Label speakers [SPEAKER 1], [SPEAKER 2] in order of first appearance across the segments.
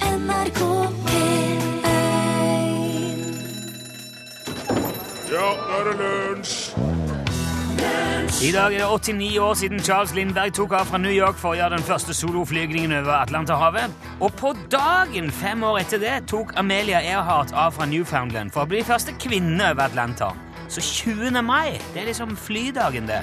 [SPEAKER 1] NRK P1
[SPEAKER 2] Ja, nå er det lunsj!
[SPEAKER 3] I dag er det 89 år siden Charles Lindberg tok av fra New York for å gjøre den første soloflygningen over Atlanterhavet. Og på dagen fem år etter det tok Amelia Earhart av fra Newfoundland for å bli første kvinne over Atlanter. Så 20. mai, det er liksom flydagen, det.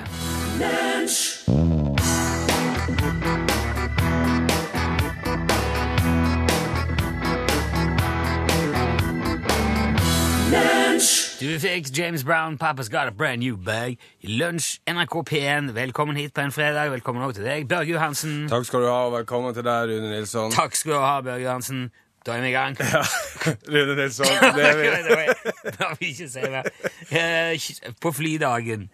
[SPEAKER 3] Du fikk James Brown, Papa's Got a Brand New Bag. I Lunsj, NRK P1, velkommen hit på en fredag. Velkommen også til deg, Børge Johansen.
[SPEAKER 2] Takk skal du ha, og velkommen til deg, Rune Nilsson.
[SPEAKER 3] Takk skal du ha, Børge Johansen. Da er vi i gang.
[SPEAKER 2] Ja, Rune Nilsson, det er vi.
[SPEAKER 3] Da vil ikke si mer. Eh, På flydagen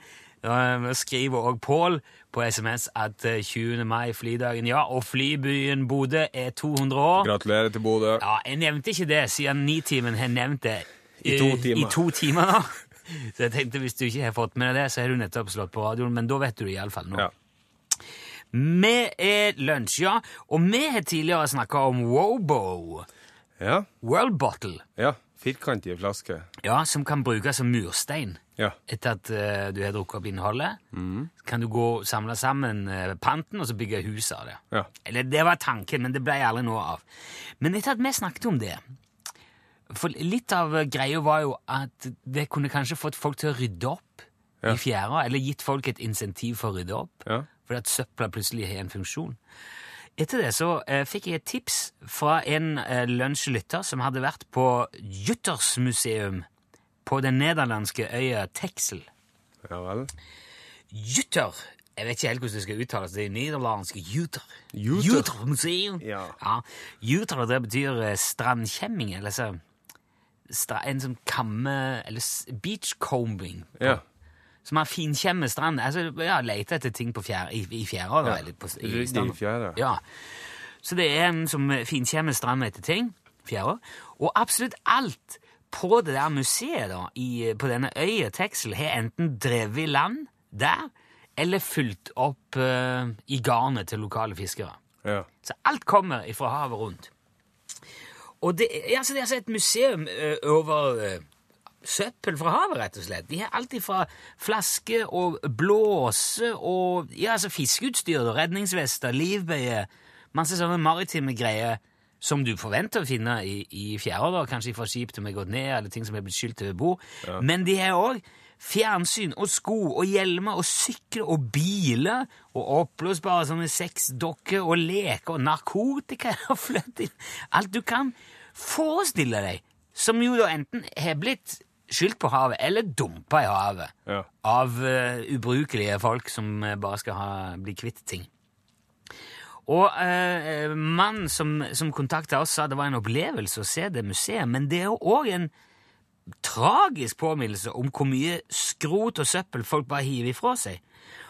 [SPEAKER 3] eh, skriver også Pål på SMS at eh, 20. mai, flydagen, ja, og flybyen Bodø er 200 år.
[SPEAKER 2] Gratulerer til Bodø.
[SPEAKER 3] Ja, jeg nevnte ikke det siden Nitimen har nevnt det
[SPEAKER 2] I to
[SPEAKER 3] eh,
[SPEAKER 2] timer.
[SPEAKER 3] I to timer nå. Så jeg tenkte hvis du ikke har fått med deg det, så har du nettopp slått på radioen, men da vet du det iallfall nå.
[SPEAKER 2] Ja.
[SPEAKER 3] Vi er lunsj, ja, og vi har tidligere snakka om Wobo.
[SPEAKER 2] Ja,
[SPEAKER 3] World Bottle,
[SPEAKER 2] ja. Firkantige flasker.
[SPEAKER 3] ja, som kan brukes som murstein.
[SPEAKER 2] Ja.
[SPEAKER 3] Etter at eh, du har drukket opp innholdet, kan du gå og samle sammen eh, panten og så bygge hus av det.
[SPEAKER 2] Ja.
[SPEAKER 3] Eller det var tanken, men det ble aldri noe av. Men etter at vi snakket om det For litt av eh, greia var jo at det kunne kanskje fått folk til å rydde opp
[SPEAKER 2] Ja.
[SPEAKER 3] i fjæra, eller gitt folk et insentiv for å rydde opp.
[SPEAKER 2] Ja.
[SPEAKER 3] Fordi at søpla plutselig har en funksjon. Etter det så eh, fikk jeg et tips fra en eh, lunsjlytter som hadde vært på Juttersmuseum på den nederlandske øya Texel.
[SPEAKER 2] Ja vel.
[SPEAKER 3] Jutter Jeg vet ikke helt hvordan det skal uttales. Det er nederlandsk Jutter.
[SPEAKER 2] Jutter.
[SPEAKER 3] Juttermuseum.
[SPEAKER 2] Ja.
[SPEAKER 3] ja. Jutter, det betyr eh, strandkjemming, eller så stra, En som kammer Eller s- beachcombing.
[SPEAKER 2] Ja.
[SPEAKER 3] Som har finkjemmer strand. Altså, ja, leter etter ting på fjær, i, i fjæra. da, eller på, i,
[SPEAKER 2] Ryddig i
[SPEAKER 3] stranda.
[SPEAKER 2] fjæra.
[SPEAKER 3] Ja. Så det er en som finkjemmer strand etter ting. Fjæra. Og absolutt alt på det der museet da, i, eh, på denne øya Texel har enten drevet i land der, eller fulgt opp eh, i garnet til lokale fiskere.
[SPEAKER 2] Ja.
[SPEAKER 3] Så alt kommer fra havet rundt. Og det, er- altså, det er altså et museum eh, over eh, søppel fra havet, rett og slett. De har alt fra flaske og blåse og ja, altså fiskeutstyr, da, redningsvester, livbøye, masse sånne maritime greier som du forventer å finne i, i fjæra, da, kanskje fra skip som er gått ned, eller ting som er blitt skylt over bord. Men de har òg fjernsyn og sko og hjelmer og sykler og biler og oppblåsbare sånne sexdokker og leker og narkotika og fløtt inn. Alt du kan forestille deg som jo da enten har blitt skylt på havet eller dumpa i havet
[SPEAKER 2] Ja.
[SPEAKER 3] av eh, ubrukelige folk som eh, bare skal ha, bli kvitt ting. Og uh, mannen som, som kontakta oss, sa det var en opplevelse å se det museet, men det er jo òg en tragisk påminnelse om hvor mye skrot og søppel folk bare hiver ifra seg.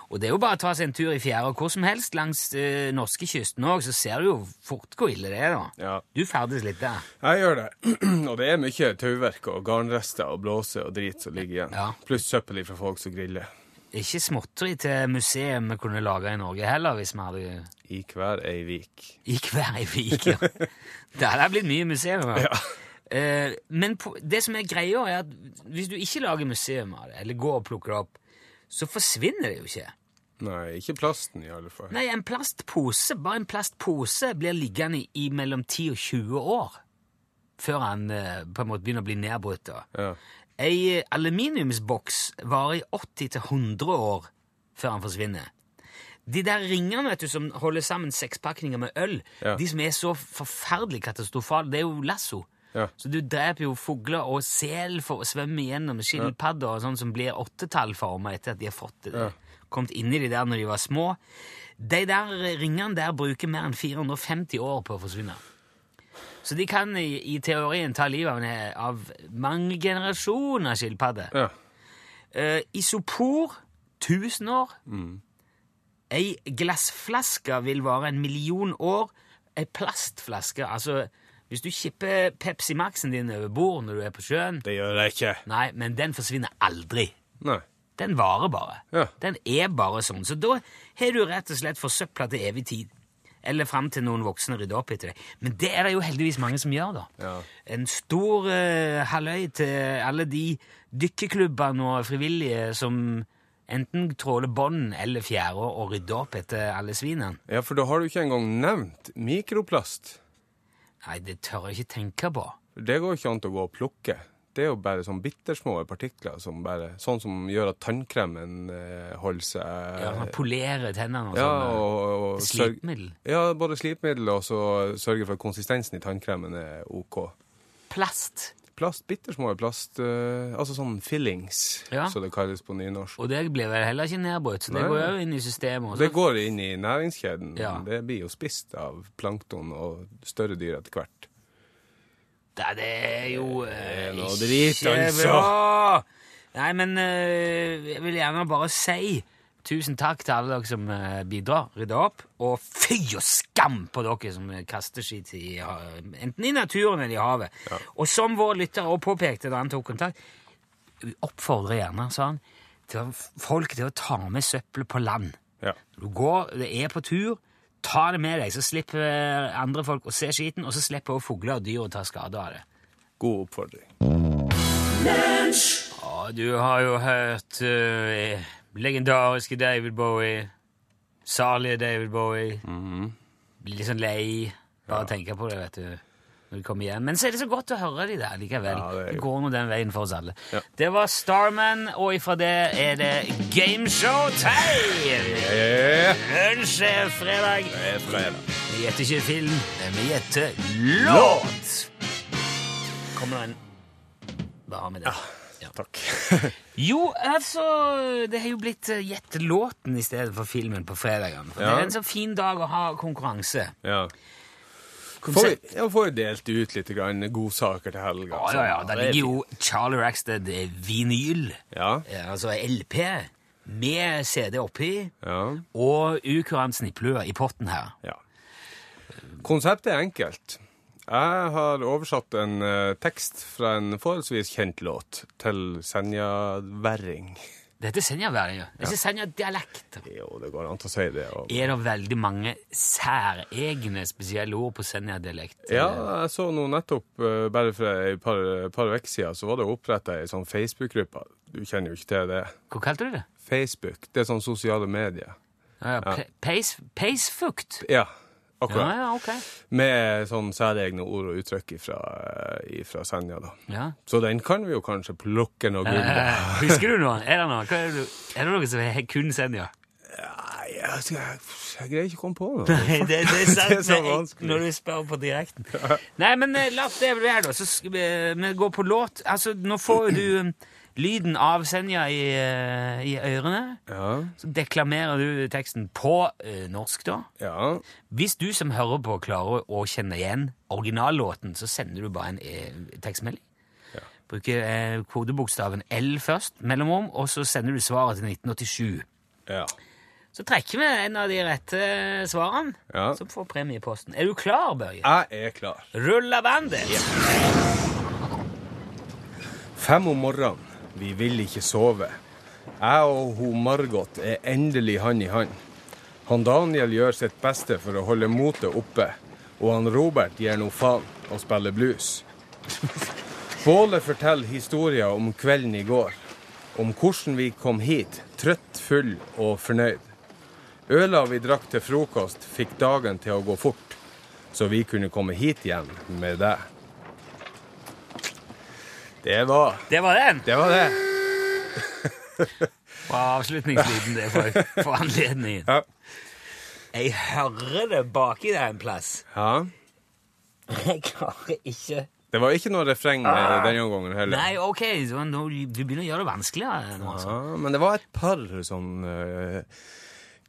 [SPEAKER 3] Og det er jo bare å ta seg en tur i fjæra hvor som helst langs uh, norskekysten òg, så ser du jo fort hvor ille det er, da.
[SPEAKER 2] Ja.
[SPEAKER 3] Du ferdes litt der.
[SPEAKER 2] Jeg gjør det. og det er mye tauverk og garnrester og blåse og drit som ligger igjen.
[SPEAKER 3] Ja.
[SPEAKER 2] Pluss søppel fra folk som griller.
[SPEAKER 3] Ikke småtteri til museum vi kunne laga i Norge heller, hvis vi hadde
[SPEAKER 2] I hver ei vik.
[SPEAKER 3] I hver ei vik, ja. Det hadde blitt mye museum. Ja. Eh, men på, det som er greia, er at hvis du ikke lager museum av det, eller går og plukker det opp, så forsvinner det jo ikke.
[SPEAKER 2] Nei, ikke plasten i alle fall.
[SPEAKER 3] Nei, en plastpose, bare en plastpose, blir liggende i mellom 10 og 20 år før han eh, på en måte begynner å bli nedbrutt. da.
[SPEAKER 2] Ja.
[SPEAKER 3] Ei aluminiumsboks varer i 80-100 år før han forsvinner. De der ringene vet du, som holder sammen sekspakninger med øl,
[SPEAKER 2] Ja.
[SPEAKER 3] de som er så forferdelig katastrofale, det er jo lasso.
[SPEAKER 2] Ja.
[SPEAKER 3] Så du dreper jo fugler og sel for å svømme gjennom skilpadder og sånn som blir åttetallformer etter at de har fått det. Kommet inn i de der når de var små. De der ringene der bruker mer enn 450 år på å forsvinne. Så de kan i, i teorien ta livet av, en- av mange generasjoner skilpadder.
[SPEAKER 2] Ja.
[SPEAKER 3] Eh, isopor 1000 år. Ei glassflaske vil vare en million år. Ei plastflaske Altså, hvis du kipper Pepsi Max-en din over bord når du er på sjøen
[SPEAKER 2] Det gjør jeg ikke.
[SPEAKER 3] Nei, men den forsvinner aldri.
[SPEAKER 2] Nei.
[SPEAKER 3] Den varer bare.
[SPEAKER 2] Ja.
[SPEAKER 3] Den er bare sånn. Så da har du rett og slett forsøpla til evig tid. eller fram til noen voksne rydder opp etter det. Men det er det jo heldigvis mange som gjør, da.
[SPEAKER 2] Ja.
[SPEAKER 3] En stor eh, halløy til alle de dykkerklubbene og frivillige som enten tråler bånd eller fjære og rydder opp etter alle svinene.
[SPEAKER 2] Ja, for da har du ikke engang nevnt mikroplast.
[SPEAKER 3] Nei, det tør jeg ikke tenke på.
[SPEAKER 2] Det går ikke an å gå og plukke. Det er jo bare sånn bittersmå partikler, som bare, sånn som gjør at tannkremen eh, holder seg
[SPEAKER 3] Ja, man polerer tennene og
[SPEAKER 2] Ja,
[SPEAKER 3] sånn.
[SPEAKER 2] og, og sørg-
[SPEAKER 3] Slipmiddel.
[SPEAKER 2] Ja, både slipmiddel og så sørge for at konsistensen i tannkremen er OK.
[SPEAKER 3] Plast.
[SPEAKER 2] Plast, bittersmå plast, eh, altså sånn fillings,
[SPEAKER 3] Ja.
[SPEAKER 2] som det kalles på nynorsk.
[SPEAKER 3] Og det blir vel heller ikke nedbrutt, så det
[SPEAKER 2] Nei.
[SPEAKER 3] går jo inn i systemet. og
[SPEAKER 2] Det
[SPEAKER 3] så-
[SPEAKER 2] går inn i næringskjeden.
[SPEAKER 3] Ja.
[SPEAKER 2] Det blir jo spist av plankton og større dyr etter hvert.
[SPEAKER 3] Nei, det er jo eh,
[SPEAKER 2] er noe drit,
[SPEAKER 3] ikke
[SPEAKER 2] altså.
[SPEAKER 3] bra. Nei, men eh, jeg vil gjerne bare si tusen takk til alle dere som eh, bidrar, rydder opp, og fy og skam på dere som kaster skitt i, ha- enten i naturen eller i havet. Og som vår lytter også påpekte da han tok kontakt, vi oppfordrer gjerne, sa han, til å- folk til å ta med søppel på land.
[SPEAKER 2] Ja.
[SPEAKER 3] Du går, det er på tur, ta det med deg, så slipper andre folk å se skiten, og så slipper også fugler og dyr å ta skade av det.
[SPEAKER 2] God oppfordring.
[SPEAKER 3] Ja, du har jo hørt eh, legendariske David Bowie, salige David Bowie.
[SPEAKER 2] Mhm.
[SPEAKER 3] Blir litt sånn lei, bare tenke på det, vet du. Når du kommer hjem. Men så er det så godt å høre de der likevel.
[SPEAKER 2] Ja, det er
[SPEAKER 3] det,
[SPEAKER 2] jo-
[SPEAKER 3] går nå den veien for oss alle.
[SPEAKER 2] Ja.
[SPEAKER 3] Det var Starman, og ifra det er det Gameshow Time!
[SPEAKER 2] Eh,
[SPEAKER 3] Lunsj er fredag.
[SPEAKER 2] Det er fredag.
[SPEAKER 3] Vi gjetter ikke film, men vi gjetter låt! Kommer det en Bare med det. Ja.
[SPEAKER 2] Takk.
[SPEAKER 3] Jo, altså Det har jo blitt eh, Gjett låten i stedet for filmen på fredagene. For
[SPEAKER 2] Ja.
[SPEAKER 3] Det er en så fin dag å ha konkurranse.
[SPEAKER 2] ja. Får,
[SPEAKER 3] Konsept.
[SPEAKER 2] jeg får jo delt ut litt grann godsaker til helga.
[SPEAKER 3] Ja, ja, ja.
[SPEAKER 2] sånn.
[SPEAKER 3] Der ligger jo Charlie Rackstead eh, vinyl,
[SPEAKER 2] Ja,
[SPEAKER 3] eh, altså LP, med CD oppi,
[SPEAKER 2] ja,
[SPEAKER 3] og ukurant snipplue i potten her.
[SPEAKER 2] ja. Konseptet er enkelt. Jeg har oversatt en eh, tekst fra en forholdsvis kjent låt til senjaværing.
[SPEAKER 3] Dette er Senja-væring, ja. Det er ikke Senja-dialekt.
[SPEAKER 2] Jo, det går an til å si det. Og...
[SPEAKER 3] er det veldig mange særegne spesielle ord på Senja-dialekt.
[SPEAKER 2] Ja, jeg så nå nettopp, eh, bare for et par, par uker siden, så var det oppretta ei sånn Facebook-gruppe. Du kjenner jo ikke til det.
[SPEAKER 3] Hva kalte du det?
[SPEAKER 2] Facebook. Det er sånn sosiale medier.
[SPEAKER 3] Ja, ja. Peis, peisfukt?
[SPEAKER 2] Ja,
[SPEAKER 3] Ja,
[SPEAKER 2] akkurat.
[SPEAKER 3] ja, ok.
[SPEAKER 2] Med sånn særegne ord og uttrykk ifra, eh, ifra Senja, da.
[SPEAKER 3] Ja.
[SPEAKER 2] Så den kan vi jo kanskje plukke noe gull på.
[SPEAKER 3] Eh, husker du noe? Er det noe? Hva er, det, du- er det noe som er kun Senja?
[SPEAKER 2] Nei, jeg, jeg, jeg greier ikke å komme på noe.
[SPEAKER 3] Nei, det, det er sant
[SPEAKER 2] Det er så
[SPEAKER 3] men jeg-
[SPEAKER 2] vanskelig.
[SPEAKER 3] når du spør på direkten. Nei, men eh, la oss det bli her, da. Så skal vi, vi går på låt. Altså, nå får jo du eh, lyden av Senja i, eh, i ørene.
[SPEAKER 2] Ja,
[SPEAKER 3] Så deklamerer du teksten på eh, norsk, da.
[SPEAKER 2] ja.
[SPEAKER 3] Hvis du som hører på klarer å kjenne igjen originallåten, så sender du bare en eh, tekstmelding. Bruker eh, kodebokstaven L først, mellomrom, og så sender du svaret til 1987.
[SPEAKER 2] Ja.
[SPEAKER 3] Så trekker vi en av de rette svarene,
[SPEAKER 2] Ja.
[SPEAKER 3] som får premie i posten. Er du klar, Børje?
[SPEAKER 2] Jeg er klar.
[SPEAKER 3] Rulla bandet!
[SPEAKER 2] Fem om morgenen. Vi vil ikke sove. Jeg og ho Margot er endelig hand i hand. Han Daniel gjør sitt beste for å holde motet oppe, og han Robert gir nå faen og spiller blues. Båle forteller historier om kvelden i går. Om hvordan vi kom hit, trøtt, full og fornøyd. Øla vi drakk til frokost, fikk dagen til å gå fort, så vi kunne komme hit igjen med deg. Det var
[SPEAKER 3] Det var den!
[SPEAKER 2] det var det.
[SPEAKER 3] Og avslutningslyden det for, for anledningen.
[SPEAKER 2] Ja.
[SPEAKER 3] Jeg hører det baki der en plass.
[SPEAKER 2] Ja.
[SPEAKER 3] Jeg klarer ikke
[SPEAKER 2] Det var ikke noe refreng med denne gangen heller.
[SPEAKER 3] Nei, OK, så nå, du begynner å gjøre det vanskeligere nå, altså.
[SPEAKER 2] Ja, Ah, men det var et par sånn eh,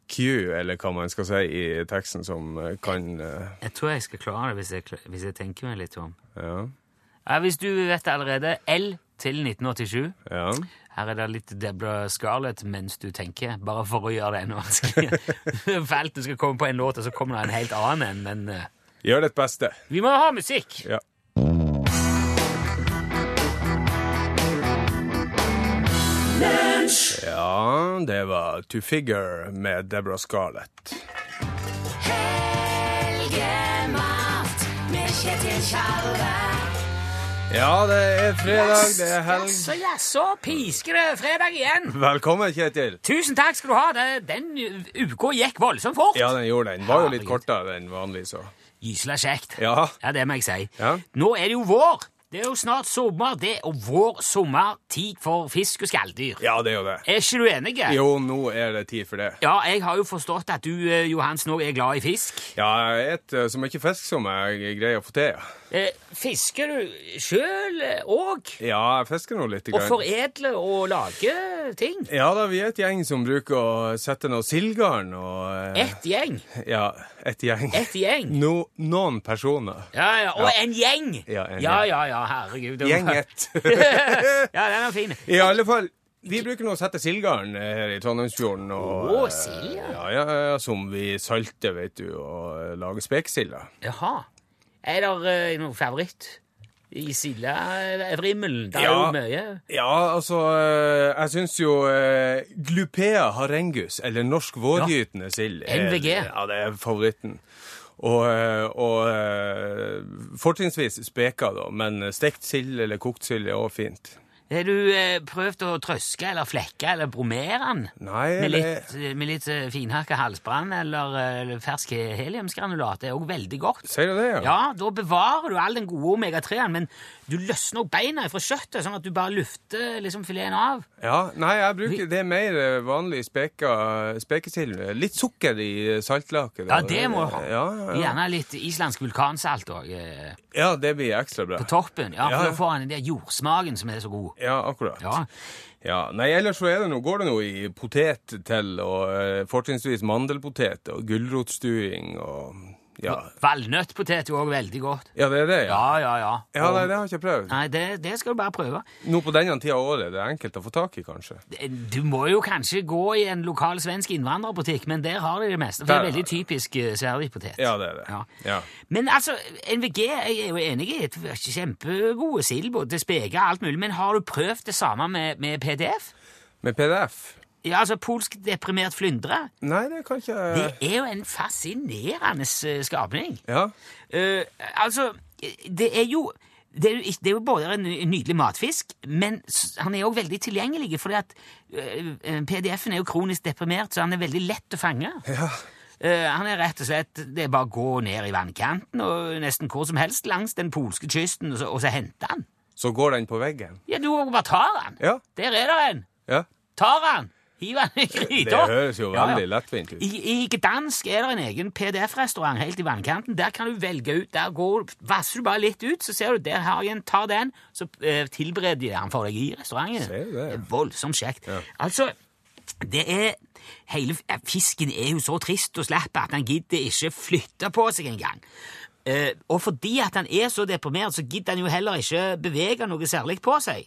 [SPEAKER 2] Q, eller hva man skal si, i teksten som eh, kan eh,
[SPEAKER 3] Jeg tror jeg skal klare det hvis jeg, kla- hvis jeg tenker meg litt om.
[SPEAKER 2] Ja.
[SPEAKER 3] Ja, hvis du vet det allerede, L til 1987.
[SPEAKER 2] ja.
[SPEAKER 3] Her er det litt Deborah Scarlett mens du tenker, bare for å gjøre det enda vanskeligere. Fælt du skal komme på en låt, og så kommer det en helt annen en, men eh,
[SPEAKER 2] Gjør ditt beste.
[SPEAKER 3] vi må ha musikk!
[SPEAKER 2] Ja. Ja, det var To Figure med Deborah Scarlett.
[SPEAKER 1] Hey, Kjetil Tjalve.
[SPEAKER 2] Ja, det er fredag, det er helg.
[SPEAKER 3] Jaså, jaså, pisker det fredag igjen.
[SPEAKER 2] Velkommen, Kjetil.
[SPEAKER 3] Tusen takk skal du ha. Det- Den uka gikk voldsomt fort.
[SPEAKER 2] Ja, den gjorde den. Var jo litt
[SPEAKER 3] Herregud.
[SPEAKER 2] kortere enn vanlig, så.
[SPEAKER 3] Gysla kjekt.
[SPEAKER 2] Ja.
[SPEAKER 3] det må jeg si.
[SPEAKER 2] Ja.
[SPEAKER 3] Nå er det jo vår. Det er jo snart sommer, det, og vår sommertid for fisk og skalldyr.
[SPEAKER 2] Ja, det er jo det.
[SPEAKER 3] Er ikke du enig?
[SPEAKER 2] Jo, nå er det tid for det.
[SPEAKER 3] Ja, jeg har jo forstått at du, eh, Johans, nå er glad i fisk.
[SPEAKER 2] Ja, jeg spiser så mye fisk som jeg greier å få til. ja.
[SPEAKER 3] Eh, Fisker du sjøl òg?
[SPEAKER 2] Ja, jeg fisker nå litt.
[SPEAKER 3] Og foredler og lager ting?
[SPEAKER 2] Ja da, vi er et gjeng som bruker å sette noe sildgarn og eh,
[SPEAKER 3] Ett gjeng.
[SPEAKER 2] Ja, et gjeng.
[SPEAKER 3] Ett gjeng.
[SPEAKER 2] No, noen personer.
[SPEAKER 3] Ja, ja, Og en gjeng!
[SPEAKER 2] Ja, en
[SPEAKER 3] ja,
[SPEAKER 2] gjeng.
[SPEAKER 3] ja, ja, herregud. det var-
[SPEAKER 2] Gjenget.
[SPEAKER 3] ja, den er fin.
[SPEAKER 2] I alle fall, vi bruker nå å sette sildgarn her i Trondheimsfjorden. Og,
[SPEAKER 3] Å,
[SPEAKER 2] eh,
[SPEAKER 3] sild, ja.
[SPEAKER 2] ja, ja, ja, Som vi salter, vet du, og eh, lager spekesild av.
[SPEAKER 3] Jaha. Er det eh, noen favoritt i eh, sildevrimmelen? Det er
[SPEAKER 2] Ja.
[SPEAKER 3] jo mye.
[SPEAKER 2] Ja, altså eh, Jeg syns jo eh, glupea harengus, eller norsk vårgytende sild, er-
[SPEAKER 3] NVG.
[SPEAKER 2] Ja, det er favoritten. Og, eh, og eh, fortrinnsvis speka, da, men stekt sild eller kokt sild er òg fint.
[SPEAKER 3] Har du eh, prøvd å trøske eller flekke eller bromere den?
[SPEAKER 2] Nei,
[SPEAKER 3] Med
[SPEAKER 2] det-
[SPEAKER 3] litt, med litt eh, finhakka halsbrann eller eh, fersk heliumsgranulat. Det er òg veldig godt.
[SPEAKER 2] Sier du det, ja?
[SPEAKER 3] Ja, da bevarer du all den gode omega-3-en, men du løsner opp beina fra kjøttet, sånn at du bare lufter liksom fileten av.
[SPEAKER 2] Ja, nei, jeg bruker det er mer eh, vanlig speka, spekesild. Litt sukker i eh, saltlaket. da.
[SPEAKER 3] Ja, det må du ha.
[SPEAKER 2] Ja, ja, ja.
[SPEAKER 3] Gjerne litt islandsk vulkansalt òg. Eh.
[SPEAKER 2] ja, det blir ekstra bra.
[SPEAKER 3] På toppen, ja, for
[SPEAKER 2] Ja, ja.
[SPEAKER 3] da får han den der jordsmaken som er så god.
[SPEAKER 2] Ja, akkurat.
[SPEAKER 3] Ja.
[SPEAKER 2] Ja, Nei, ellers så er det noe, går det noe i potet til, og eh, fortrinnsvis mandelpotet og gulrotstuing og ja.
[SPEAKER 3] Valnøttpotet er jo òg veldig godt.
[SPEAKER 2] ja, det er det, ja.
[SPEAKER 3] Ja, ja, ja.
[SPEAKER 2] Ja,
[SPEAKER 3] Og-
[SPEAKER 2] nei, det har jeg ikke prøvd.
[SPEAKER 3] Nei, det, det skal du bare prøve.
[SPEAKER 2] Nå på denne tida av året det er enkelt å få tak i, kanskje.
[SPEAKER 3] Du må jo kanskje gå i en lokal svensk innvandrerbutikk, men der har de det meste.
[SPEAKER 2] Der
[SPEAKER 3] For det er
[SPEAKER 2] har
[SPEAKER 3] veldig typisk eh, særlig-potet.
[SPEAKER 2] Ja, det er det. Ja.
[SPEAKER 3] Men altså, NVG jeg er jo enig i det er kjempegode sild, både speker og alt mulig, men har du prøvd det samme med, med PDF?
[SPEAKER 2] Med PDF?
[SPEAKER 3] Ja, altså polsk deprimert flyndre?
[SPEAKER 2] Nei, det kan ikke
[SPEAKER 3] Det er jo en fascinerende eh, skapning.
[SPEAKER 2] Ja.
[SPEAKER 3] Eh, altså, det er jo det er, jo, ikke- det er jo både en ny- nydelig matfisk, men s- han er jo også veldig tilgjengelig, fordi at eh, PDF-en er jo kronisk deprimert, så han er veldig lett å fange.
[SPEAKER 2] ja.
[SPEAKER 3] Eh, han er rett og slett, det er bare å gå ned i vannkanten, og nesten hvor som helst langs den polske kysten, og så, og så hente han.
[SPEAKER 2] Så går den på veggen.
[SPEAKER 3] Ja, du bare tar han.
[SPEAKER 2] Ja.
[SPEAKER 3] Der er det en.
[SPEAKER 2] Ja.
[SPEAKER 3] Tar han. Hiver han i
[SPEAKER 2] Det
[SPEAKER 3] gryta.
[SPEAKER 2] høres jo
[SPEAKER 3] Ja, ja.
[SPEAKER 2] veldig lettvint ut.
[SPEAKER 3] I, I Gdansk er det en egen PDF-restaurant helt i vannkanten. Der kan du velge ut. Der går, vasser du bare litt ut, så ser du der har jeg en, ta den, så eh, tilbereder de den for deg i restauranten.
[SPEAKER 2] Ser du det?
[SPEAKER 3] er voldsomt kjekt. Altså, det er hele, eh, Fisken er jo så trist og slapp at han gidder ikke flytte på seg engang. Eh, og fordi at han er så deprimert, så gidder han jo heller ikke bevege noe særlig på seg.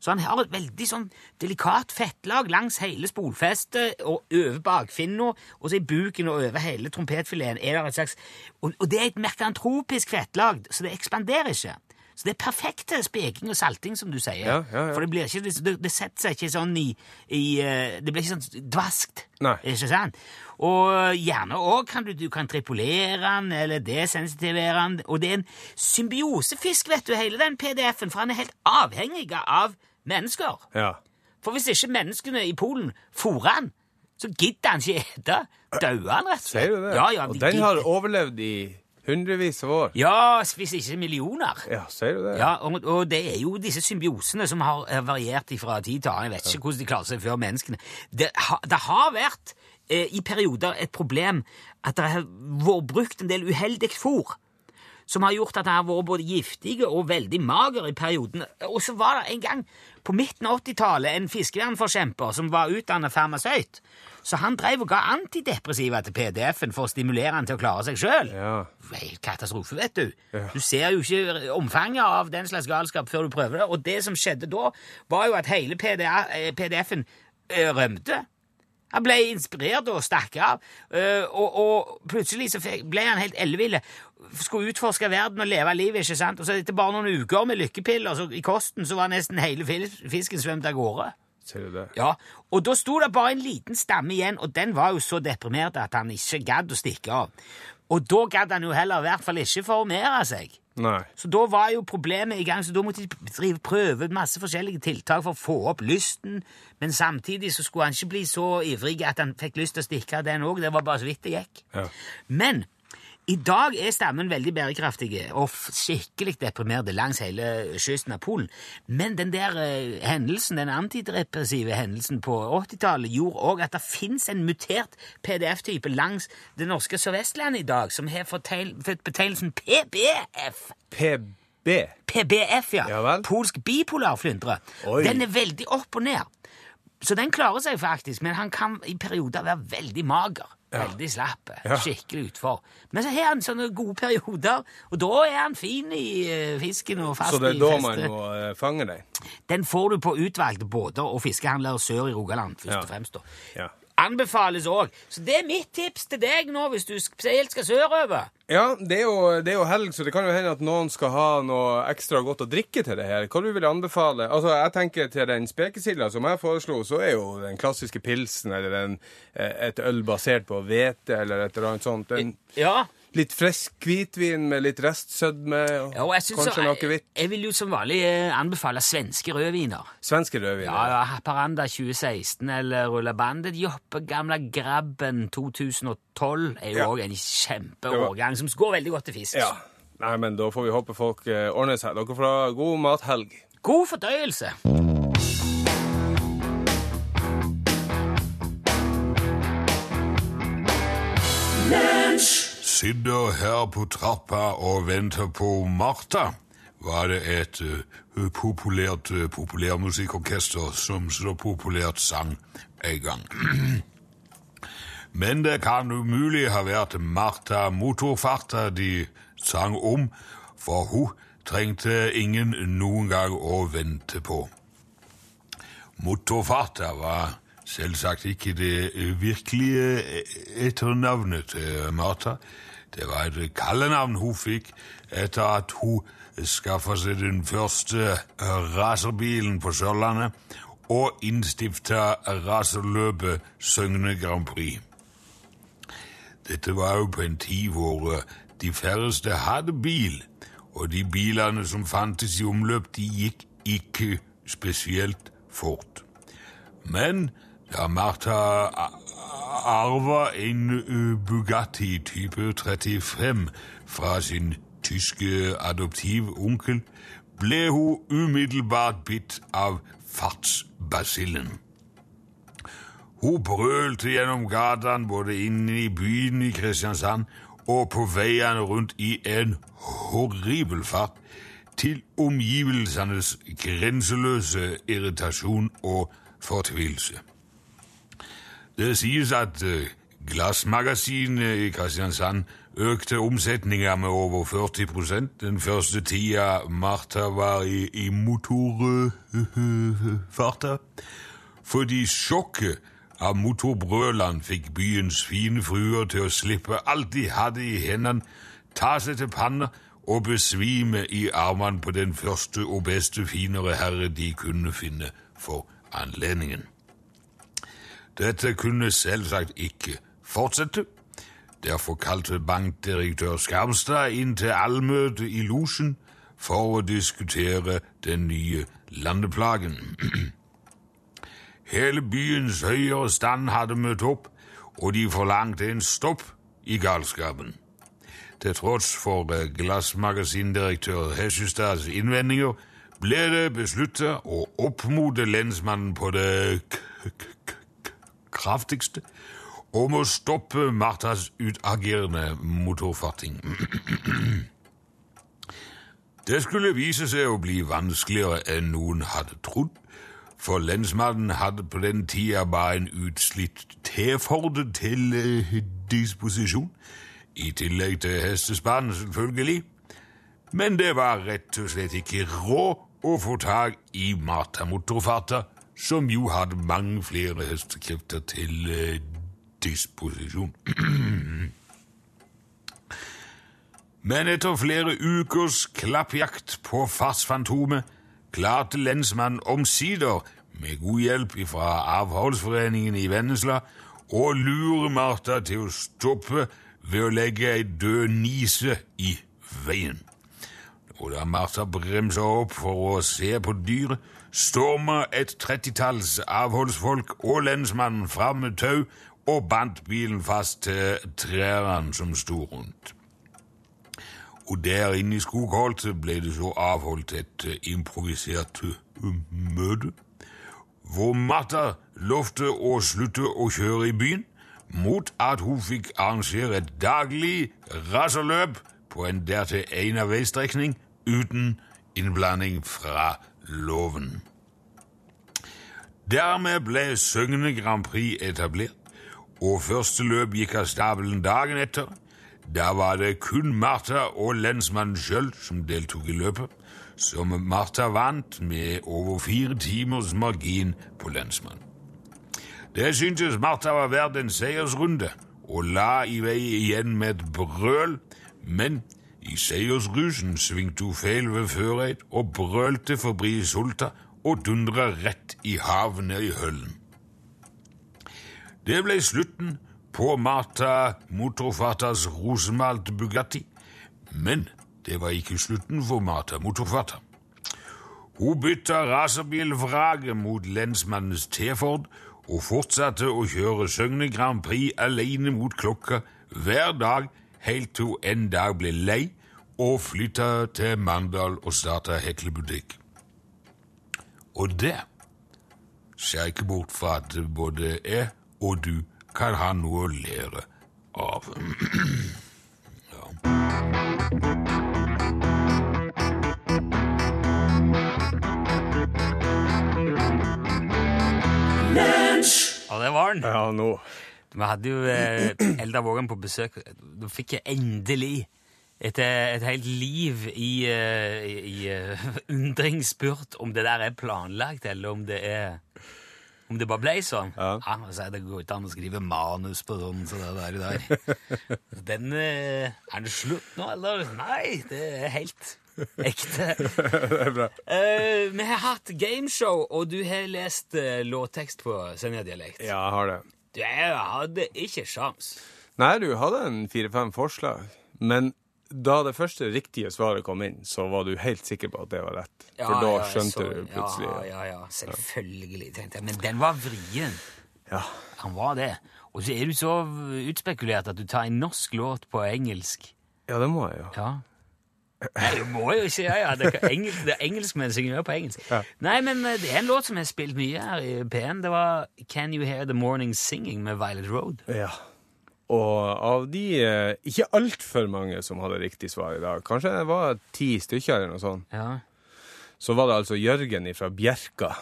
[SPEAKER 3] Så han har et veldig sånn delikat fettlag langs hele spolfestet og over bakfinna, og så i buken og over hele trompetfileten er det et slags Og, og det er et merkantropisk fettlag, så det ekspanderer ikke. Så det er perfekt til speking og salting, som du sier.
[SPEAKER 2] Ja, ja, ja.
[SPEAKER 3] For det, blir ikke, det, det setter seg ikke sånn i, i eh, Det blir ikke sånn dvaskt.
[SPEAKER 2] Nei.
[SPEAKER 3] Ikke sant? Og gjerne òg kan du, du kan tripolere den, eller desensitivere den. Og det er en symbiosefisk, vet du, hele den PDF-en, for han er helt avhengig av mennesker.
[SPEAKER 2] Ja.
[SPEAKER 3] For hvis ikke menneskene i Polen fôrer han, så gidder han ikke ete. Dauer han, rett og slett.
[SPEAKER 2] Sier du det?
[SPEAKER 3] Ja, ja,
[SPEAKER 2] Og
[SPEAKER 3] de
[SPEAKER 2] den har
[SPEAKER 3] gidder-
[SPEAKER 2] overlevd i hundrevis av år.
[SPEAKER 3] Ja, hvis ikke millioner.
[SPEAKER 2] Ja, sier du det?
[SPEAKER 3] Ja, og, og det er jo disse symbiosene som har eh, variert fra tid til annen. Jeg vet ikke hvordan de klarer seg før menneskene. Det, ha, det har vært eh, i perioder et problem at det har vært brukt en del uheldig fôr. Som har gjort at han har vært både giftig og veldig mager i perioden. Og så var det en gang på midten av 80-tallet en fiskevernforkjemper som var utdannet farmasøyt. Så han drev og ga antidepressiva til PDF-en for å stimulere han til å klare seg sjøl.
[SPEAKER 2] Ja.
[SPEAKER 3] Det er helt katastrofe, vet du. Du ser jo ikke omfanget av den slags galskap før du prøver det, og det som skjedde da, var jo at hele PDA eh, PDF-en eh, rømte. Han ble inspirert og stakk av, eh, og, og plutselig så fikk- ble han helt elleville. Skulle utforske verden og leve livet, ikke sant? Og så etter bare noen uker med lykkepiller så i kosten, så var nesten hele fil- fisken svømt av gårde.
[SPEAKER 2] Sier du det?
[SPEAKER 3] Ja, og da sto det bare en liten stamme igjen, og den var jo så deprimert at han ikke gadd å stikke av. Og da gadd han jo heller i hvert fall ikke formere seg.
[SPEAKER 2] Nei.
[SPEAKER 3] Så da var jo problemet i gang, så da måtte de drive prøve masse forskjellige tiltak for å få opp lysten, men samtidig så skulle han ikke bli så ivrig at han fikk lyst til å stikke av den òg, det var bare så vidt det gikk.
[SPEAKER 2] Ja.
[SPEAKER 3] Men i dag er stammen veldig bærekraftig og f- skikkelig deprimert langs hele kysten av Polen. Men den der eh, hendelsen, den antidepressive hendelsen på 80-tallet gjorde òg at det fins en mutert PDF-type langs det norske Sørvestlandet i dag som har forteil- fått betegnelsen PBF.
[SPEAKER 2] PB.
[SPEAKER 3] PBF, ja.
[SPEAKER 2] Ja vel.
[SPEAKER 3] Polsk bipolarflyndre.
[SPEAKER 2] Oi.
[SPEAKER 3] Den er veldig opp og ned. Så den klarer seg faktisk, men han kan i perioder være veldig mager. Veldig slapp.
[SPEAKER 2] Ja.
[SPEAKER 3] Skikkelig utfor. Men så har han sånne gode perioder, og da er han fin i eh, fisken og fast
[SPEAKER 2] Så det
[SPEAKER 3] i
[SPEAKER 2] er da
[SPEAKER 3] festet.
[SPEAKER 2] man må eh, fange den?
[SPEAKER 3] Den får du på utvalgte båter og fiskehandlere sør i Rogaland, først
[SPEAKER 2] Ja.
[SPEAKER 3] og fremst. da.
[SPEAKER 2] Ja.
[SPEAKER 3] Anbefales òg. Så det er mitt tips til deg nå, hvis du spesielt skal sørover.
[SPEAKER 2] Ja, det er, jo, det er jo helg, så det kan jo hende at noen skal ha noe ekstra godt å drikke til det her. Hva du vil anbefale? Altså, jeg tenker til den spekesilda som jeg foreslo, så er jo den klassiske pilsen eller en, eh, et øl basert på hvete eller et eller annet sånt. En
[SPEAKER 3] Ja,
[SPEAKER 2] litt frisk hvitvin med litt restsødme, og
[SPEAKER 3] Ja, og jeg synes så-
[SPEAKER 2] kanskje noe
[SPEAKER 3] jeg,
[SPEAKER 2] hvitt.
[SPEAKER 3] jeg vil jo som vanlig eh, anbefale svenske rødviner.
[SPEAKER 2] Svenske rødvin.
[SPEAKER 3] Ja, ja, Haparanda 2016 eller Rulla Bandet. Joppe gamle Grabben 2012 er
[SPEAKER 2] Ja.
[SPEAKER 3] jo òg en
[SPEAKER 2] var-
[SPEAKER 3] kjempeårgang som går veldig godt til fisk.
[SPEAKER 2] Ja. Nei, men da får vi håpe folk eh, ordner seg. Dere får ha god mathelg.
[SPEAKER 3] God fordøyelse!
[SPEAKER 4] Sitter her på trappa og venter på Martha, var det et eh, populært eh, populærmusikkorkester som så populært sang en gang. Men det kan umulig ha vært Martha Motorfarta de sang um. om, for hun trengte ingen noen gang å vente på. Motorfarta var selvsagt ikke det eh, virkelige eh, etternavnet til Martha. Det var et eh, kallenavn hun fikk etter at hun skaffa seg den første eh, racerbilen på Sørlandet og innstifta racerløpet Søgne Grand Prix. Dette var jo på en tid hvor eh, de færreste hadde bil, og de bilene som fantes i omløp, de gikk ikke spesielt fort. Men da Martha a- a- arva en eh, Bugatti type 35 fra sin tyske adoptivonkel, ble hun umiddelbart bitt av fartsbasillen. Hun brølte gjennom gatene både inne i byen i Kristiansand og på veiene rundt i en horribel fart til omgivelsenes grenseløse irritasjon og fortvilelse. Det sies at eh, glassmagasinet i Kristiansand økte omsetninga med over 40 den første tida Martha var i, i motorfarta fordi sjokket av motorbrølene fikk byens fine fruer til å slippe alt de hadde i hendene, ta seg til panna og besvime i armene på den første og beste finere herre de kunne finne for anledningen. Dette kunne selvsagt ikke fortsette. Derfor kalte bankdirektør Skarmstad inn til allmøte i losjen for å diskutere den nye landeplagen. Hele byens høyere stand hadde møtt opp, og de forlangte en stopp i galskapen. Til tross for eh, glassmagasindirektør Hessestads innvendinger ble det besluttet å oppmode lensmannen på det k k k k kraftigste om å stoppe Marthas utagerende motorfarting. Det skulle vise seg å bli vanskeligere enn noen hadde trodd, for lensmannen hadde på den tida bare en utslitt T-Ford til eh, disposisjon, i tillegg til hestespann, selvfølgelig. Men det var rett og slett ikke råd å få tak i Marta Motorfarta, som jo hadde mange flere hestekrefter til eh, disposisjon. Men etter flere ukers klappjakt på fartsfantomet klarte lensmannen omsider, med god hjelp fra avholdsforeningen i Vennesla, å lure Martha til å stoppe ved å legge ei død nise i veien. Og da Martha bremsa opp for å se på dyret, storma et trettitalls avholdsfolk og lensmannen fram med tau og bandt bilen fast til trærne som sto rundt. Og der inne i skogholtet ble det så avholdt et eh, improvisert eh, møte, hvor Martha lovte å slutte å kjøre i byen, mot at hun fikk arrangere et daglig racerløp på en dertil ene veistrekning uten innblanding fra loven. Dermed ble Søgne Grand Prix etablert, og første løp gikk av stabelen dagen etter. Da var det kun Martha og lensmannen sjøl som deltok i løpet, som Martha vant med over fire timers margin på lensmannen. Det syntes Martha var verdt en seiersrunde, og la i vei igjen med et brøl, men i seiersrusen svingte hun feil ved Føreid og brølte forbi Sulta og dundra rett i havnet i Høllen. Det ble slutten på Martha Motorfatas rosemalt Bugatti. Men det var ikke slutten for Martha Motorfata. Hun bytta racerbilvraket mot lensmannens T-Ford og fortsatte å kjøre Søgne Grand Prix alene mot klokka hver dag helt til hun en dag ble lei og flytta til Mandal og starta heklebutikk. Og det ser ikke bort fra at både jeg og du kan ha noe å lære av. ja.
[SPEAKER 3] Og det var den.
[SPEAKER 2] Ja, nå.
[SPEAKER 3] Vi hadde jo eh, Eldar Vågen på besøk. Da fikk jeg endelig et, eh, et helt liv i, eh, i, i eh, undring spurt om det der er planlagt, eller om det er om det bare ble sånn.
[SPEAKER 2] Ja.
[SPEAKER 3] Han sa det går ikke an å skrive manus på sånn som det der i dag. Den eh, Er det slutt nå, eller? Nei, det er helt ekte.
[SPEAKER 2] Det er bra.
[SPEAKER 3] Eh, vi har hatt gameshow, og du har lest eh, låttekst på Senja-dialekt.
[SPEAKER 2] Ja, jeg har det.
[SPEAKER 3] Du jeg hadde ikke sjans.
[SPEAKER 2] Nei, du hadde en fire-fem forslag, men da det første riktige svaret kom inn, så var du helt sikker på at det var rett.
[SPEAKER 3] Ja,
[SPEAKER 2] For da
[SPEAKER 3] ja,
[SPEAKER 2] skjønte
[SPEAKER 3] så-
[SPEAKER 2] du plutselig
[SPEAKER 3] Ja, ja, ja. Selvfølgelig, tenkte jeg. Men den var vrien.
[SPEAKER 2] Ja.
[SPEAKER 3] Han var det. Og så er du så utspekulert at du tar en norsk låt på engelsk.
[SPEAKER 2] Ja, det må jeg jo.
[SPEAKER 3] Ja. Nei, du må jo ikke ja, ja. Det er engelsk, det er engelskmenn som gjør på engelsk. Nei, men eh, det er en låt som er spilt mye her i P1. Det var Can You Hear The Morning Singing med Violet Road.
[SPEAKER 2] Ja. Og av de eh, ikke altfor mange som hadde riktig svar i dag, kanskje det var ti stykker eller noe sånt,
[SPEAKER 3] Ja.
[SPEAKER 2] så var det altså Jørgen fra Bjerka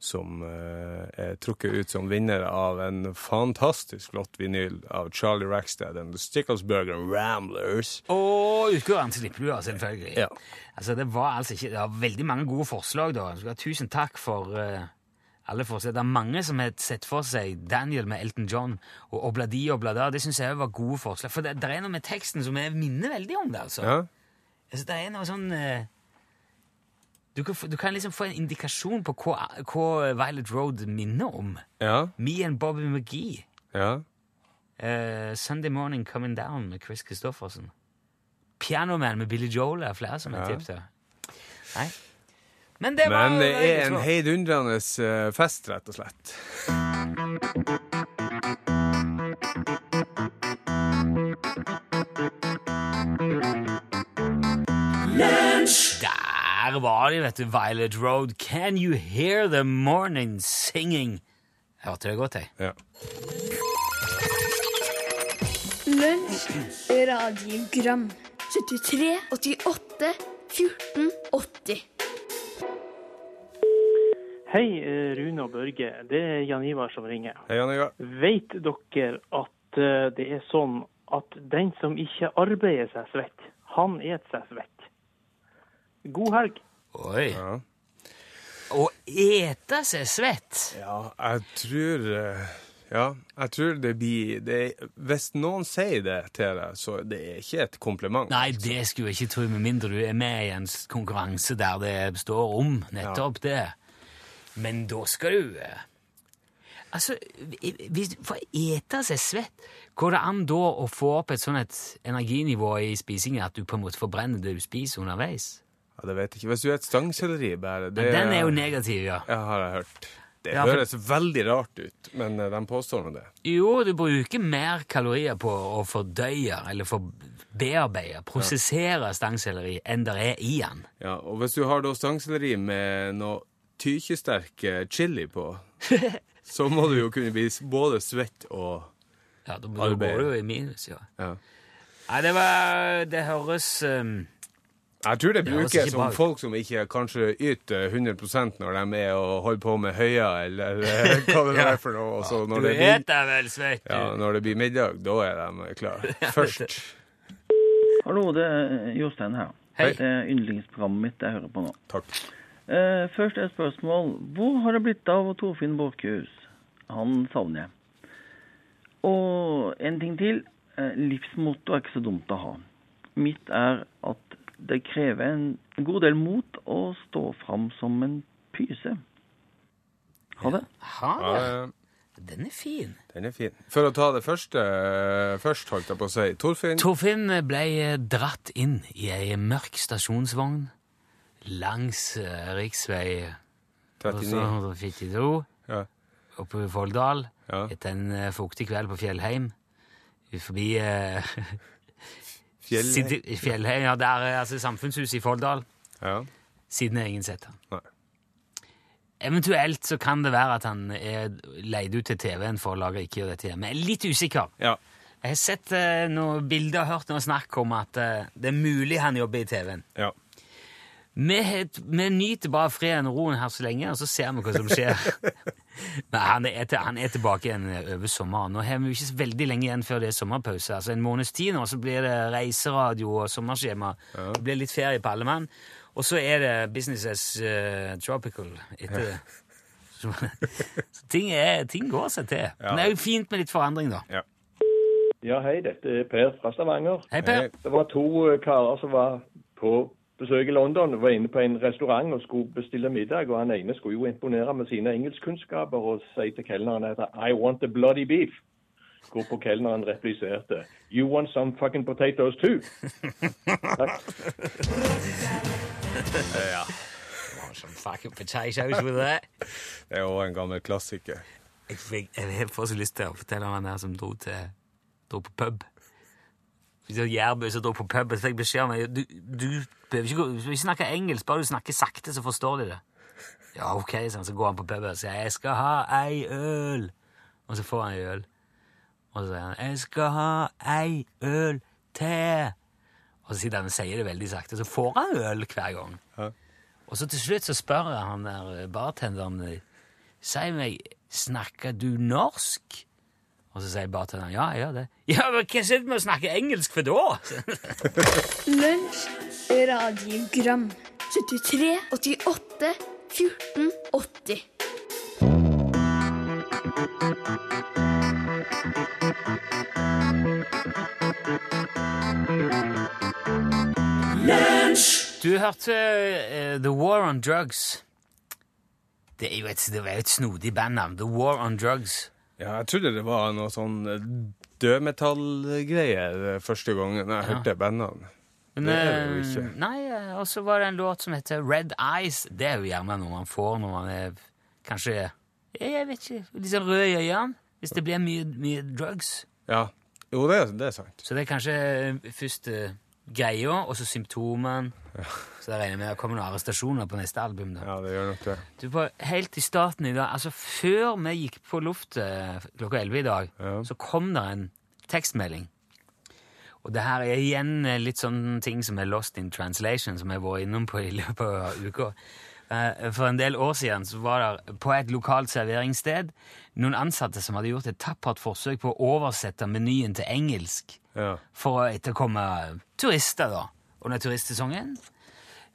[SPEAKER 2] som eh, er trukket ut som vinner av en fantastisk flott vinyl av Charlie Rackstead and The Sticklesburger Ramblers.
[SPEAKER 3] Og utgåeren slipper du, da, selvfølgelig.
[SPEAKER 2] Ja.
[SPEAKER 3] Altså, det var altså ikke Det var veldig mange gode forslag, da. Så, tusen takk for eh, alle forslag. Det er mange som har sett for seg Daniel med Elton John og Obladi og Oblada. Det syns jeg var gode forslag. For det, det er noe med teksten som jeg minner veldig om det, altså.
[SPEAKER 2] Ja,
[SPEAKER 3] altså det er noe sånn eh, du, kan, få- du kan liksom få en indikasjon på hva, hva Violet Road minner om.
[SPEAKER 2] ja,
[SPEAKER 3] Me and Bobby McGee.
[SPEAKER 2] ja.
[SPEAKER 3] Eh, Sunday Morning Coming Down med Chris Christoffersen. Pianoman med Billy Joel er flere som er
[SPEAKER 2] Ja.
[SPEAKER 3] tipset. Nei. Men det var
[SPEAKER 2] Men det er en
[SPEAKER 3] så-
[SPEAKER 2] heidundrende eh, fest, rett og slett.
[SPEAKER 3] Der var de, vet du. Violet Road. Can you hear the morning singing? Jeg hørte det godt, jeg.
[SPEAKER 2] Ja.
[SPEAKER 5] Lunsj, radiogram 73, 88, 14, 80
[SPEAKER 6] Hei, eh, Rune og Børge. Det er Jan Ivar som ringer.
[SPEAKER 2] Hei, Jan Ivar.
[SPEAKER 6] Vet dere at eh, det er sånn at den som ikke arbeider seg svett, han et seg svett? God helg.
[SPEAKER 3] Oi.
[SPEAKER 2] Ja.
[SPEAKER 3] Å ete seg svett.
[SPEAKER 2] Ja, jeg tror eh, Ja, jeg tror det blir det, Hvis noen sier det til deg, så det er ikke et kompliment.
[SPEAKER 3] Nei, det skulle jeg ikke tro, med mindre du er med i en s- konkurranse der det står om nettopp det. Men da skal du eh, Altså, hvis for å ete seg svett, går det an da å få opp et sånn et energinivå i spisingen at du på en måte forbrenner det du spiser underveis?
[SPEAKER 2] Ja, det vet jeg ikke. Hvis du er et stangselleri, bare det,
[SPEAKER 3] Den er jo negativ, ja.
[SPEAKER 2] Ja, har jeg hørt. Det
[SPEAKER 3] Ja, for-
[SPEAKER 2] høres veldig rart ut, men eh, de påstår nå det.
[SPEAKER 3] Jo, du bruker mer kalorier på å fordøye eller for bearbeide, prosessere stangselleri enn det er i den.
[SPEAKER 2] Ja, og hvis du har da stangselleri med noe tykesterk eh, chili på, så må du jo kunne bli s- både svett og
[SPEAKER 3] Ja, da da
[SPEAKER 2] Arbeid.
[SPEAKER 3] går du jo i minus, ja.
[SPEAKER 2] ja.
[SPEAKER 3] Nei, det var Det høres um,
[SPEAKER 2] Jeg tror det
[SPEAKER 3] Ja, altså,
[SPEAKER 2] brukes
[SPEAKER 3] ikke
[SPEAKER 2] som
[SPEAKER 3] bare-
[SPEAKER 2] folk som ikke kanskje yter 100 når de er og holder på med høya, eller eh, hva det er for noe. Og så
[SPEAKER 3] Du
[SPEAKER 2] når det blir,
[SPEAKER 3] et deg vel svett, du.
[SPEAKER 2] ja, når det blir middag, da er de klare. Først.
[SPEAKER 7] Hallo, det er eh, Jostein her.
[SPEAKER 3] Hei.
[SPEAKER 7] Det er yndlingsprogrammet mitt jeg hører på nå.
[SPEAKER 2] Takk.
[SPEAKER 7] Eh, først et spørsmål. Hvor har det blitt av Torfinn Borchhus? Han savner jeg. Og en ting til. Eh, livsmotto er ikke så dumt å ha. Mitt er at det krever en god del mot å stå fram som en pyse. Ha det.
[SPEAKER 3] Ha
[SPEAKER 2] Ja,
[SPEAKER 3] det.
[SPEAKER 2] ja,
[SPEAKER 3] Den er fin.
[SPEAKER 2] Eh, den er fin. For å ta det første eh, først, holdt jeg på å si. Torfinn,
[SPEAKER 3] Torfinn ble eh, dratt inn i ei mørk stasjonsvogn langs eh, riksvei Altså,
[SPEAKER 2] 39.
[SPEAKER 3] 142
[SPEAKER 2] Ja.
[SPEAKER 3] oppe i Folldal
[SPEAKER 2] Ja.
[SPEAKER 3] etter en eh, fuktig kveld på Fjellheim. Ut Forbi eh,
[SPEAKER 2] Fjell.
[SPEAKER 3] Sid- Fjellheim, ja, der er altså samfunnshuset i Folldal.
[SPEAKER 2] Ja.
[SPEAKER 3] Siden er ingen sett han.
[SPEAKER 2] Nei.
[SPEAKER 3] Eventuelt så kan det være at han er leid ut til TV-en for å lage Ikke gjør dette hjemme. Jeg er litt usikker.
[SPEAKER 2] Ja.
[SPEAKER 3] Jeg har sett eh, noen bilder og hørt noe snakk om at eh, det er mulig han jobber i TV-en.
[SPEAKER 2] ja.
[SPEAKER 3] Vi, het, vi nyter bare freden og roen her så lenge, og så ser vi hva som skjer. Men han er, til, han er tilbake igjen over sommeren. Nå har vi jo ikke så veldig lenge igjen før det er sommerpause. Altså En måneds tid nå, så blir det reiseradio og sommerskjema. Det blir litt ferie på alle mann. Og så er det business as eh, tropical etter det. Så, så ting, er, ting går seg til. Men det er jo fint med litt forandring, da.
[SPEAKER 2] Ja.
[SPEAKER 8] Ja, hei, dette er Per fra Stavanger.
[SPEAKER 3] Hei, Per.
[SPEAKER 8] Det var to eh, karer som var på besøk i London, var inne på en restaurant og skulle bestille middag, og han ene skulle jo imponere med sine engelskkunnskaper og si til kelneren at I want the bloody beef. Hvorpå kelneren repliserte You want some fucking potatoes too?
[SPEAKER 3] Oh, some fucking potatoes with that.
[SPEAKER 2] Det er jo en gammel klassiker.
[SPEAKER 3] Jeg, fikk, jeg får så lyst til å fortelle om han der som dro, til, dro på pub. Hvis det var Jærbø som dro på pub, så fikk jeg beskjed om at du, du behøver ikke, gå- du behøver ikke snakke engelsk, bare du snakker sakte, så forstår de det. Ja, ok, sånn, så går han på puben og sier 'jeg skal ha ei øl', og så får han ei øl. Og så sier han 'jeg skal ha ei øl til', og så sitter han og sier det veldig sakte, så får han øl hver gang. Og så til slutt så spør han der bartenderen Si meg, snakker du norsk? Og så sier bartenderen ja, jeg gjør det. Ja, men hva sitter vi og snakker engelsk for da?
[SPEAKER 5] Lunsj, radiogram 73 88 14 80
[SPEAKER 3] Du hørte eh, The War on Drugs. Det er jo et, det var jo et snodig bandnavn. The War on Drugs.
[SPEAKER 2] Ja, jeg trodde det var noe sånn eh, dødmetallgreier eh, første gangen jeg hørte bandene.
[SPEAKER 3] Men,
[SPEAKER 2] Det er det jo
[SPEAKER 3] eh,
[SPEAKER 2] ikke.
[SPEAKER 3] Nei, eh, og så var det en låt som heter Red Eyes. Det er jo gjerne noe man får når man er kanskje ja, Jeg vet ikke. Litt sånn rød i øynene. Hvis det blir mye, mye drugs.
[SPEAKER 2] Ja. Jo, det, er- det er sant.
[SPEAKER 3] Så det er kanskje først eh, greia, og så symptomene. Så da regner jeg med det kommer noen arrestasjoner på neste album. da.
[SPEAKER 2] Ja, det gjør nok det.
[SPEAKER 3] Du var helt i starten i dag, altså Før vi gikk på luft eh, klokka 11 i dag,
[SPEAKER 2] Ja.
[SPEAKER 3] så kom det en tekstmelding. Og det her er igjen eh, litt sånne ting som er lost in translation, som jeg har vært innom på i løpet av uka. Eh, For en del år siden så var det på et lokalt serveringssted noen ansatte som hadde gjort et tappert forsøk på å oversette menyen til engelsk
[SPEAKER 2] Ja.
[SPEAKER 3] for å etterkomme turister da, under turistsesongen.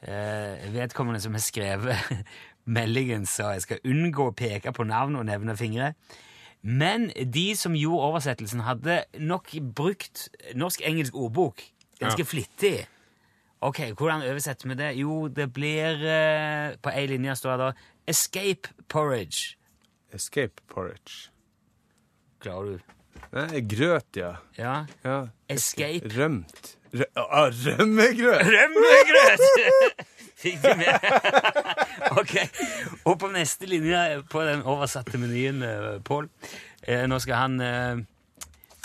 [SPEAKER 3] Eh, vedkommende som har skrevet meldingen sa jeg skal unngå å peke på navn og nevne fingre. Men de som gjorde oversettelsen, hadde nok brukt norsk-engelsk ordbok ganske flittig. Ok, Hvordan oversetter vi det? Jo, det blir eh, På én linje står det da 'escape porridge'.
[SPEAKER 2] Escape porridge.
[SPEAKER 3] Klarer du
[SPEAKER 2] Nei, grøt, ja.
[SPEAKER 3] Ja.
[SPEAKER 2] ja.
[SPEAKER 3] Escape.
[SPEAKER 2] Rømt. Rø ah, rømmegrøt!
[SPEAKER 3] Rømmegrøt! Fikk du med? ok. Og på neste linje på den oversatte menyen, eh, Pål eh, Nå skal han eh,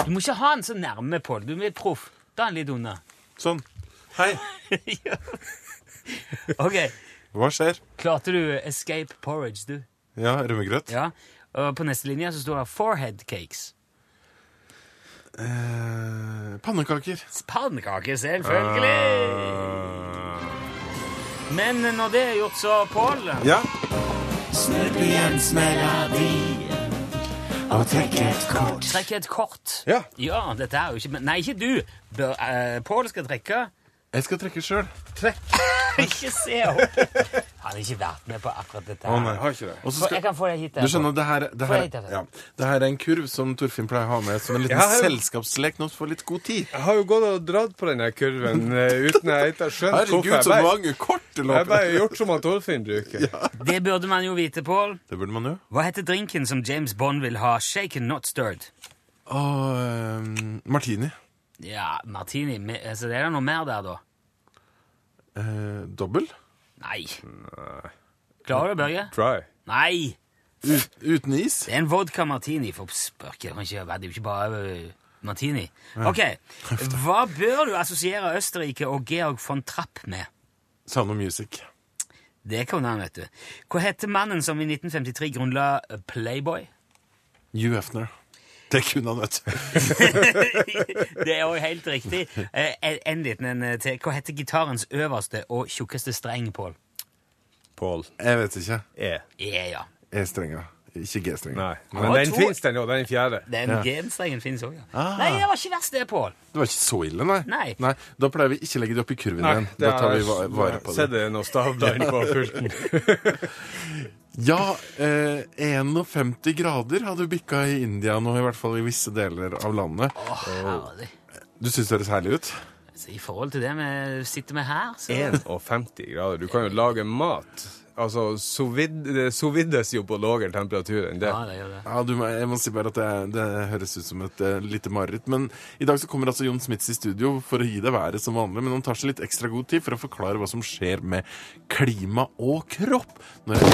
[SPEAKER 3] Du må ikke ha han så nærme, Pål. Du er proff. Da er han litt unna.
[SPEAKER 9] Sånn. Hei,
[SPEAKER 3] Ja. ok.
[SPEAKER 9] hva skjer?
[SPEAKER 3] Klarte du Escape Porridge, du?
[SPEAKER 9] Ja, rømmegrøt?
[SPEAKER 3] Ja. Og på neste linje så står det Forehead Cakes.
[SPEAKER 9] Eh, pannekaker.
[SPEAKER 3] Pannekaker, selvfølgelig!
[SPEAKER 9] Ah.
[SPEAKER 3] Men når det er gjort, så, Pål
[SPEAKER 9] Ja.
[SPEAKER 3] Trekk et kort.
[SPEAKER 9] Ja.
[SPEAKER 3] dette er jo ikke men- Nei, ikke du. Bør, eh, Pål skal trekke.
[SPEAKER 9] Jeg skal trekke sjøl.
[SPEAKER 3] ikke se opp! Han har ikke vært med på akkurat dette. her.
[SPEAKER 2] Har ikke det.
[SPEAKER 9] Og så
[SPEAKER 3] For Jeg
[SPEAKER 9] skal
[SPEAKER 3] kan få deg hit.
[SPEAKER 9] du skjønner, det her, det,
[SPEAKER 3] Få
[SPEAKER 9] her,
[SPEAKER 3] hit, altså.
[SPEAKER 9] ja. det her er en kurv som Torfinn pleier å ha med som en liten
[SPEAKER 2] Ja, ja.
[SPEAKER 9] selskapslek når vi får litt god tid.
[SPEAKER 2] Jeg har jo gått og dratt på denne kurven eh, uten jeg helt har skjønt hvorfor
[SPEAKER 9] Herregud,
[SPEAKER 2] jeg
[SPEAKER 9] så
[SPEAKER 2] bare-
[SPEAKER 9] mange kort du
[SPEAKER 2] Jeg har
[SPEAKER 9] løper!
[SPEAKER 2] bare gjort som han Torfinn bruker.
[SPEAKER 3] Det burde man jo vite, Pål.
[SPEAKER 9] Det burde man jo.
[SPEAKER 3] Hva heter drinken som James Bond vil ha? Shaken, not stirred.
[SPEAKER 9] Og ehm, martini.
[SPEAKER 3] Ja, martini. me- Altså, det er da noe mer der, da?
[SPEAKER 9] Eh, dobbel.
[SPEAKER 3] Nei. Klarer du, Børge?
[SPEAKER 2] Try.
[SPEAKER 3] Nei!
[SPEAKER 9] Ut, uten is.
[SPEAKER 3] Det er en vodka martini. For spørke, det kan ikke være det er jo ikke bare øh, martini. Ok, Hva bør du assosiere Østerrike og Georg von Trapp med?
[SPEAKER 9] Sound of Music.
[SPEAKER 3] Det kan han, vet du. Hva heter mannen som i 1953 grunnla øh, Playboy?
[SPEAKER 9] Hugh Hefner. Det kunne han, vet du.
[SPEAKER 3] det er jo helt riktig. Eh, en- En liten en eh, til. Hva heter gitarens øverste og tjukkeste streng, Pål?
[SPEAKER 2] Pål.
[SPEAKER 9] Jeg vet ikke.
[SPEAKER 2] E.
[SPEAKER 3] Ja, ja.
[SPEAKER 9] E-strenger. Ikke G-strenger.
[SPEAKER 2] Nei. Men
[SPEAKER 3] var
[SPEAKER 2] den
[SPEAKER 3] to-
[SPEAKER 2] fins, den jo. Den fjerde.
[SPEAKER 3] Den
[SPEAKER 9] Ja.
[SPEAKER 3] G-strengen fins òg, ja. Nei, det var ikke verst, det, Pål.
[SPEAKER 9] Det var ikke så ille, nei.
[SPEAKER 3] Nei.
[SPEAKER 9] Da pleier vi ikke å legge det opp i kurven igjen.
[SPEAKER 2] det
[SPEAKER 9] Da tar
[SPEAKER 2] har
[SPEAKER 9] vi va-
[SPEAKER 2] jeg-
[SPEAKER 9] vare på
[SPEAKER 2] Sett
[SPEAKER 9] det.
[SPEAKER 2] det noe stavbein på pulten.
[SPEAKER 9] Ja, eh, 51 grader hadde bikka i India nå, i hvert fall i visse deler av landet.
[SPEAKER 3] Å, herlig.
[SPEAKER 9] Du syns det høres herlig ut?
[SPEAKER 3] Altså, I forhold til det vi sitter med her, så
[SPEAKER 2] 51 grader. Du kan jo lage mat. Altså, sous vide- det sous vides jo på lavere temperatur enn det.
[SPEAKER 3] Ja, det gjør det.
[SPEAKER 9] Ja, du, må- jeg må si bare at det, det høres ut som et eh, lite mareritt. Men i dag så kommer altså Jon Smits i studio for å gi deg været som vanlig. Men han tar seg litt ekstra god tid for å forklare hva som skjer med klima og kropp. Når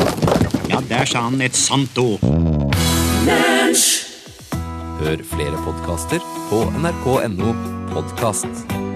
[SPEAKER 10] Ja, der sa han et sant ord. Hør flere podkaster på nrk.no podkast.